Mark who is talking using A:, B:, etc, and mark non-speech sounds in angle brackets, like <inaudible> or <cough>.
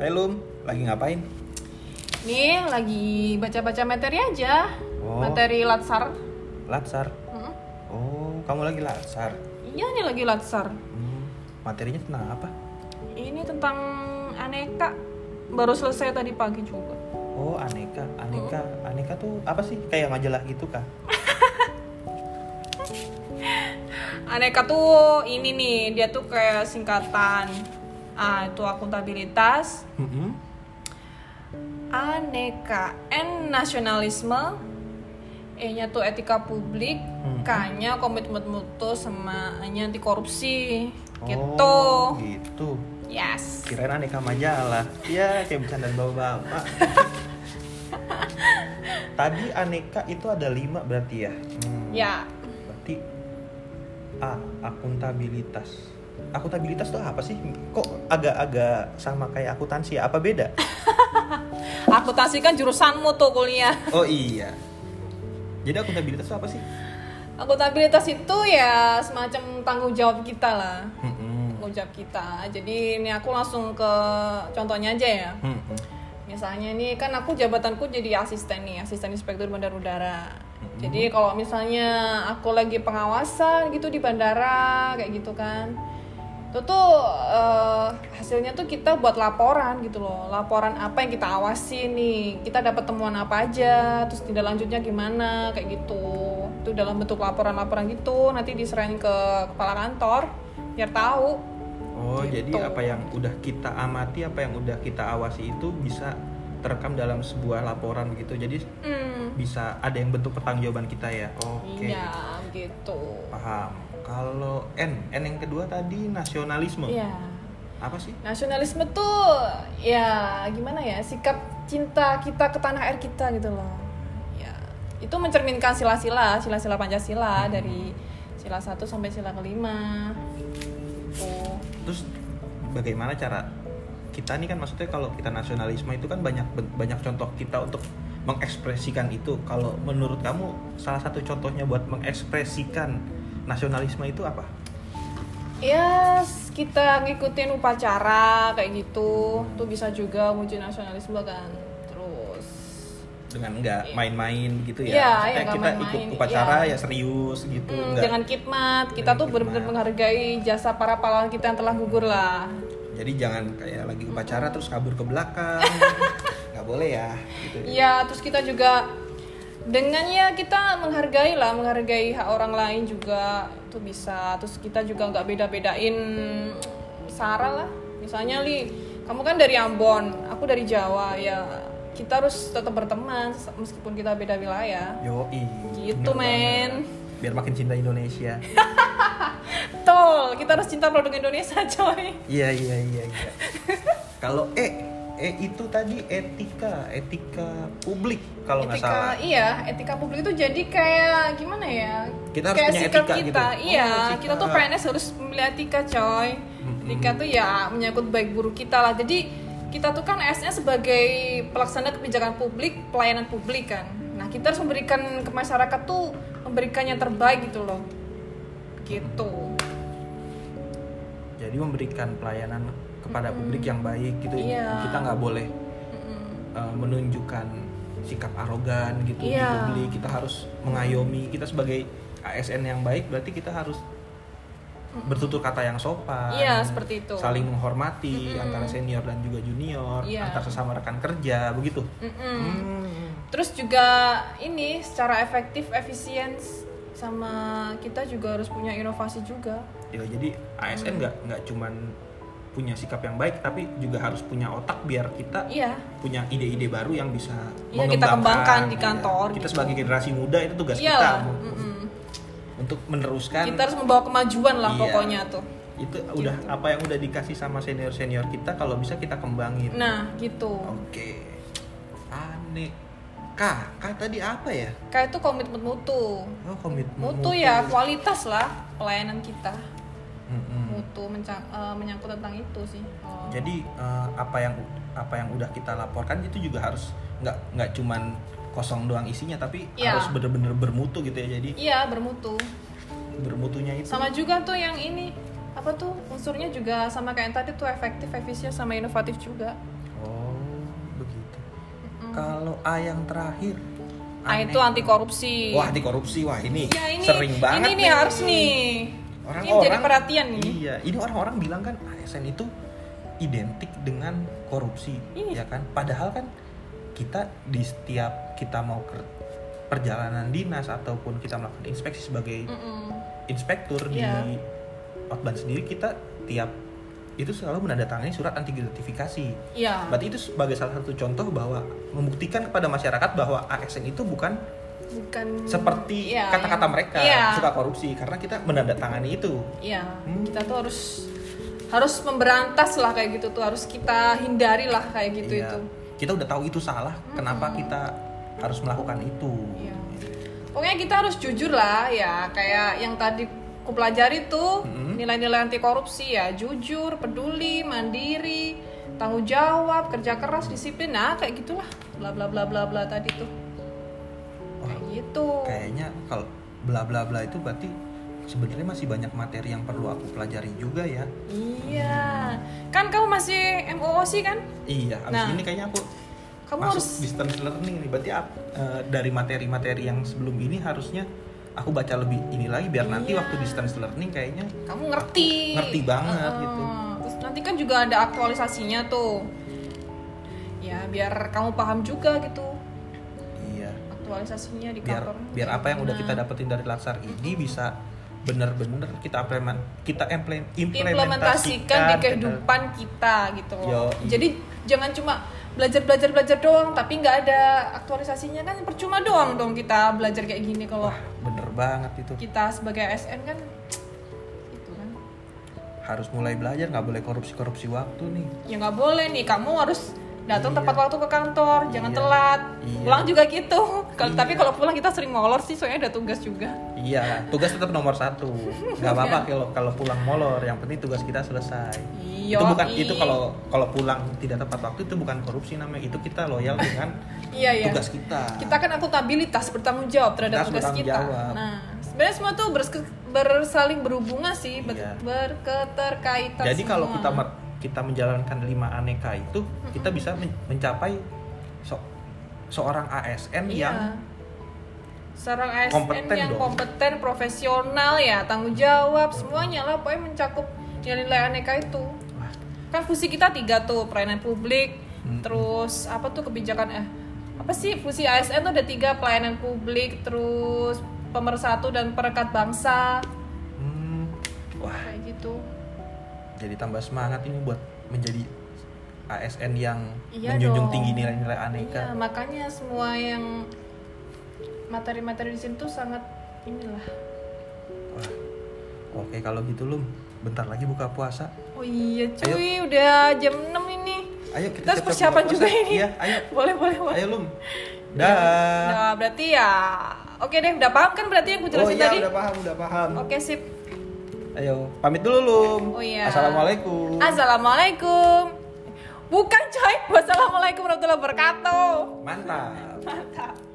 A: Hai Lum, lagi ngapain?
B: Nih lagi baca-baca materi aja.
A: Oh.
B: Materi latsar.
A: Latsar.
B: Mm-mm.
A: Oh, kamu lagi latsar.
B: Iya nih lagi latsar.
A: Hmm, materinya tentang apa?
B: Ini tentang aneka. Baru selesai tadi pagi juga.
A: Oh, aneka, aneka,
B: Oh.
A: aneka tuh apa sih? Kayak majalah gitu kah?
B: Aneka tuh ini nih dia tuh kayak singkatan. Ah itu akuntabilitas.
A: Mm-mm.
B: Aneka N nasionalisme. E-nya tuh etika publik,
A: Hmm.
B: K-nya komitmen mutu sama A-nya anti korupsi. Gitu.
A: Oh, gitu.
B: Yes.
A: Kirain aneka majalah. Iya, kayak bercandaan
B: <laughs>
A: bapak-bapak. Tadi aneka itu ada lima berarti ya? Hmm,
B: Ya,
A: Berarti A, akuntabilitas. Akuntabilitas tuh apa sih? Kok agak-agak sama kayak akuntansi? ya? Apa beda?
B: akuntansi kan jurusanmu tuh kuliah.
A: Oh iya. Jadi akuntabilitas itu apa sih?
B: Akuntabilitas itu ya semacam tanggung jawab kita lah. Tanggung jawab kita. Jadi ini aku langsung ke contohnya aja ya. Misalnya ini kan aku jabatanku jadi asisten nih, asisten inspektur bandar udara. Jadi kalau misalnya aku lagi pengawasan gitu di bandara kayak gitu kan. Itu tuh eh, hasilnya tuh kita buat laporan gitu loh. Laporan apa yang kita awasi nih? Kita dapat temuan apa aja, terus tindak lanjutnya gimana kayak gitu. Itu dalam bentuk laporan-laporan gitu nanti diserahin ke kepala kantor biar tahu.
A: Oh, jadi
B: Gitu.
A: apa yang udah kita amati, apa yang udah kita awasi itu bisa terekam dalam sebuah laporan gitu. Jadi
B: Hmm.
A: bisa ada yang bentuk pertanggungjawaban kita ya. Oke.
B: Iya, gitu.
A: Paham. Kalau N, N yang kedua tadi nasionalisme.
B: Iya.
A: Apa sih?
B: Nasionalisme tuh ya gimana ya sikap cinta kita ke tanah air kita gitu loh. Ya itu mencerminkan sila-sila, sila-sila Pancasila dari sila 1 sampai sila kelima. Gitu. Tuh.
A: Terus bagaimana cara kita nih kan maksudnya kalau kita nasionalisme itu kan banyak banyak contoh kita untuk mengekspresikan itu. Kalau menurut kamu salah satu contohnya buat mengekspresikan nasionalisme itu apa?
B: Ya s- kita ngikutin upacara kayak gitu, tuh bisa juga muncul nasionalisme kan. Terus
A: Dengan nggak main-main gitu ya.
B: Iya,
A: Maksudnya
B: iya, nggak
A: kita ikut
B: main-main,
A: upacara
B: iya.
A: ya serius gitu.
B: hmm,
A: nggak-
B: jangan kitmat, kita
A: Jangan
B: tuh benar-benar
A: khidmat.
B: menghargai jasa para pahlawan kita yang telah gugur lah.
A: Jadi jangan kayak lagi
B: Hmm.
A: upacara terus kabur ke belakang.
B: <laughs>
A: nggak boleh ya gitu. ya.
B: Iya, terus kita juga dengan ya kita menghargai lah, menghargai hak orang lain juga itu bisa. Terus kita juga nggak beda-bedain sara lah. Misalnya Li, kamu kan dari Ambon, aku dari Jawa ya. Kita harus tetap berteman meskipun kita beda wilayah.
A: Yoi.
B: Gitu,
A: bener banget.
B: men.
A: Biar makin cinta Indonesia.
B: Betul, kita harus cinta produk Indonesia, <laughs> coy.
A: Iya iya iya iya. Kalau E E itu tadi etika etika publik kalau nggak salah.
B: Etika, iya, etika publik itu jadi kayak gimana ya?
A: Kita harus
B: kayak
A: punya
B: sikap
A: etika
B: kita,
A: gitu.
B: iya,
A: Oh, etika.
B: kita tuh PNS harus melihat etika, coy. Etika tuh ya menyangkut baik buruk kita lah. Jadi kita tuh kan S-nya sebagai pelaksana kebijakan publik, pelayanan publik kan. Nah, kita harus memberikan ke masyarakat tuh memberikan yang terbaik gitu loh. Gitu.
A: Jadi memberikan pelayanan kepada publik yang baik gitu.
B: Iya.
A: Kita nggak boleh eh, menunjukkan sikap arogan gitu di
B: Iya.
A: publik. Kita harus mengayomi. Kita sebagai ASN yang baik berarti kita harus bertutur kata yang sopan.
B: Iya, seperti itu.
A: Saling menghormati antara senior dan juga junior,
B: Iya.
A: antar sesama rekan kerja, begitu.
B: Mm-mm.
A: Hmm.
B: Terus juga ini secara efektif, efisien sama kita juga harus punya inovasi juga.
A: ya jadi ASN nggak nggak cuman punya sikap yang baik tapi juga harus punya otak biar kita
B: Iya.
A: punya ide-ide baru yang bisa
B: Iya, kita kembangkan di kantor,
A: kita
B: gitu.
A: sebagai generasi muda itu tugas kita
B: Iyalah.
A: untuk-
B: Iya, mm-mm.
A: untuk meneruskan
B: Mm. Kita gitu. harus membawa kemajuan lah
A: Iya.
B: pokoknya tuh.
A: itu udah apa yang udah dikasih sama senior senior kita kalau bisa kita kembangin
B: Nah, gitu.
A: oke aneh kah kah tadi apa ya
B: Kayak itu komitmen mutu.
A: oh komitmen
B: Mutu ya kualitas lah pelayanan kita.
A: Hmm. Mm-mm.
B: Mutu menca- eh, menyangkut tentang itu sih. Oh.
A: Jadi eh, apa yang apa yang udah kita laporkan itu juga harus nggak nggak cuman kosong doang isinya tapi
B: Iya.
A: harus bener-bener bermutu gitu ya. Jadi
B: Iya, bermutu.
A: bermutunya itu
B: Sama juga tuh yang ini apa tuh unsurnya juga sama kayak yang tadi tuh efektif, efisien sama inovatif juga.
A: Oh, Kalau A yang terakhir.
B: Ah
A: aneh.
B: itu anti korupsi.
A: Wah, anti korupsi. Wah, ini,
B: Ya, ini,
A: sering banget.
B: Ini nih harus nih. ini jadi perhatian nih.
A: Iya, ini orang-orang bilang kan ASN itu identik dengan korupsi,
B: Iya.
A: ya kan? Padahal kan kita di setiap kita mau ke perjalanan dinas ataupun kita melakukan inspeksi sebagai
B: Mm-mm.
A: inspektur
B: Mm. Iya.
A: di Otban sendiri kita tiap itu selalu menandatangani surat anti gratifikasi.
B: Iya.
A: Berarti itu sebagai salah satu contoh bahwa membuktikan kepada masyarakat bahwa ASN itu bukan
B: Bukan
A: seperti
B: Iya,
A: kata-kata
B: iya.
A: mereka
B: Iya.
A: suka korupsi karena kita menandatangani itu.
B: Iya.
A: Hmm.
B: Kita tuh harus harus memberantas lah kayak gitu tuh harus kita hindari lah kayak gitu
A: Iya.
B: itu. Hmm.
A: Kita udah tahu itu salah, kenapa kita harus melakukan itu?
B: Iya. Pokoknya kita harus jujur lah ya kayak yang tadi ku pelajari tuh
A: Hmm.
B: nilai-nilai anti korupsi ya jujur, peduli, mandiri, tanggung jawab, kerja keras, disiplin, nah kayak gitulah bla bla bla bla bla tadi tuh
A: Wah,
B: kayak gitu.
A: kayaknya kalau bla bla bla itu berarti sebenarnya masih banyak materi yang perlu aku pelajari juga ya.
B: Iya, kan kamu masih MOOC kan?
A: Iya, abis
B: Nah.
A: ini kayaknya aku
B: Kamu
A: masuk
B: harus
A: distance learning nih. Berarti ap- eh, dari materi-materi yang sebelum ini harusnya aku baca lebih ini lagi biar nanti
B: Iya.
A: waktu distance learning kayaknya
B: kamu ngerti.
A: Ngerti banget
B: Heeh.
A: gitu.
B: Terus nanti kan juga ada aktualisasinya tuh. Ya, biar kamu paham juga gitu
A: iya
B: aktualisasinya di
A: biar
B: kantor.
A: biar apa yang udah kita
B: Nah.
A: dapetin dari laksar ini bisa bener-bener kita implement kita implement-
B: implementasikan di kehidupan kita gitu.
A: Yo.
B: Jadi jangan cuma belajar belajar belajar doang tapi nggak ada aktualisasinya kan percuma doang dong kita belajar kayak gini kalau
A: bener banget itu
B: kita sebagai ASN kan itu kan
A: harus mulai belajar nggak boleh korupsi korupsi waktu nih
B: ya nggak boleh nih kamu harus
A: Iya.
B: datang tepat waktu ke kantor jangan
A: Iya.
B: telat
A: Iya.
B: pulang juga gitu kalau tapi kalau pulang kita sering molor sih soalnya ada tugas juga
A: iya tugas tetap nomor satu nggak apa-apa kalau kalau pulang molor yang penting tugas kita selesai itu
B: Iya,
A: bukan
B: i.
A: itu kalau kalau pulang tidak tepat waktu itu bukan korupsi namanya itu kita loyal dengan
B: iya iya
A: tugas kita
B: kita kan akuntabilitas bertanggung jawab
A: Kita
B: terhadap
A: harus
B: tugas kita
A: bertanggung jawab.
B: nah sebenarnya semua tuh berse- bersaling berhubungan sih ber-
A: Iya.
B: berketerkaitan
A: Jadi kalau
B: semua.
A: kita mer- kita menjalankan lima aneka itu,
B: Hmm.
A: kita bisa men- mencapai so- seorang ASN
B: Iya.
A: yang
B: seorang ASN
A: kompeten
B: yang
A: dong.
B: kompeten profesional ya tanggung jawab semuanya lah pokoknya mencakup nilai-nilai aneka itu
A: Wah.
B: kan fusi kita tiga tuh pelayanan publik
A: Mm-mm.
B: terus apa tuh kebijakan eh apa sih fusi ASN tuh ada tiga pelayanan publik terus pemersatu dan perekat bangsa
A: hmm, wah
B: kayak gitu
A: jadi tambah semangat ini buat menjadi ASN yang
B: Iya
A: menjunjung
B: dong.
A: tinggi nilai-nilai aneka.
B: iya makanya semua yang materi-materi di sini tuh sangat inilah
A: Wah. Oke kalau gitu Lum, bentar lagi buka puasa.
B: oh iya cuy udah jam 6 ini
A: Ayo
B: Kita
A: kita siap-siap
B: harus
A: buka
B: persiapan
A: puasa.
B: juga ini. Iya.
A: Iya,
B: <laughs>
A: ayo.
B: boleh boleh boleh
A: Ayo Lum. Dah.
B: Nah, berarti ya oke deh udah paham kan berarti yang gue
A: Oh
B: jelasin
A: iya
B: tadi
A: udah paham, udah paham.
B: oke sip
A: Ayo, pamit dulu Lum.
B: Oh iya.
A: Assalamualaikum.
B: assalamualaikum bukan coy wassalamualaikum warahmatullahi wabarakatuh
A: Mantap.
B: mantap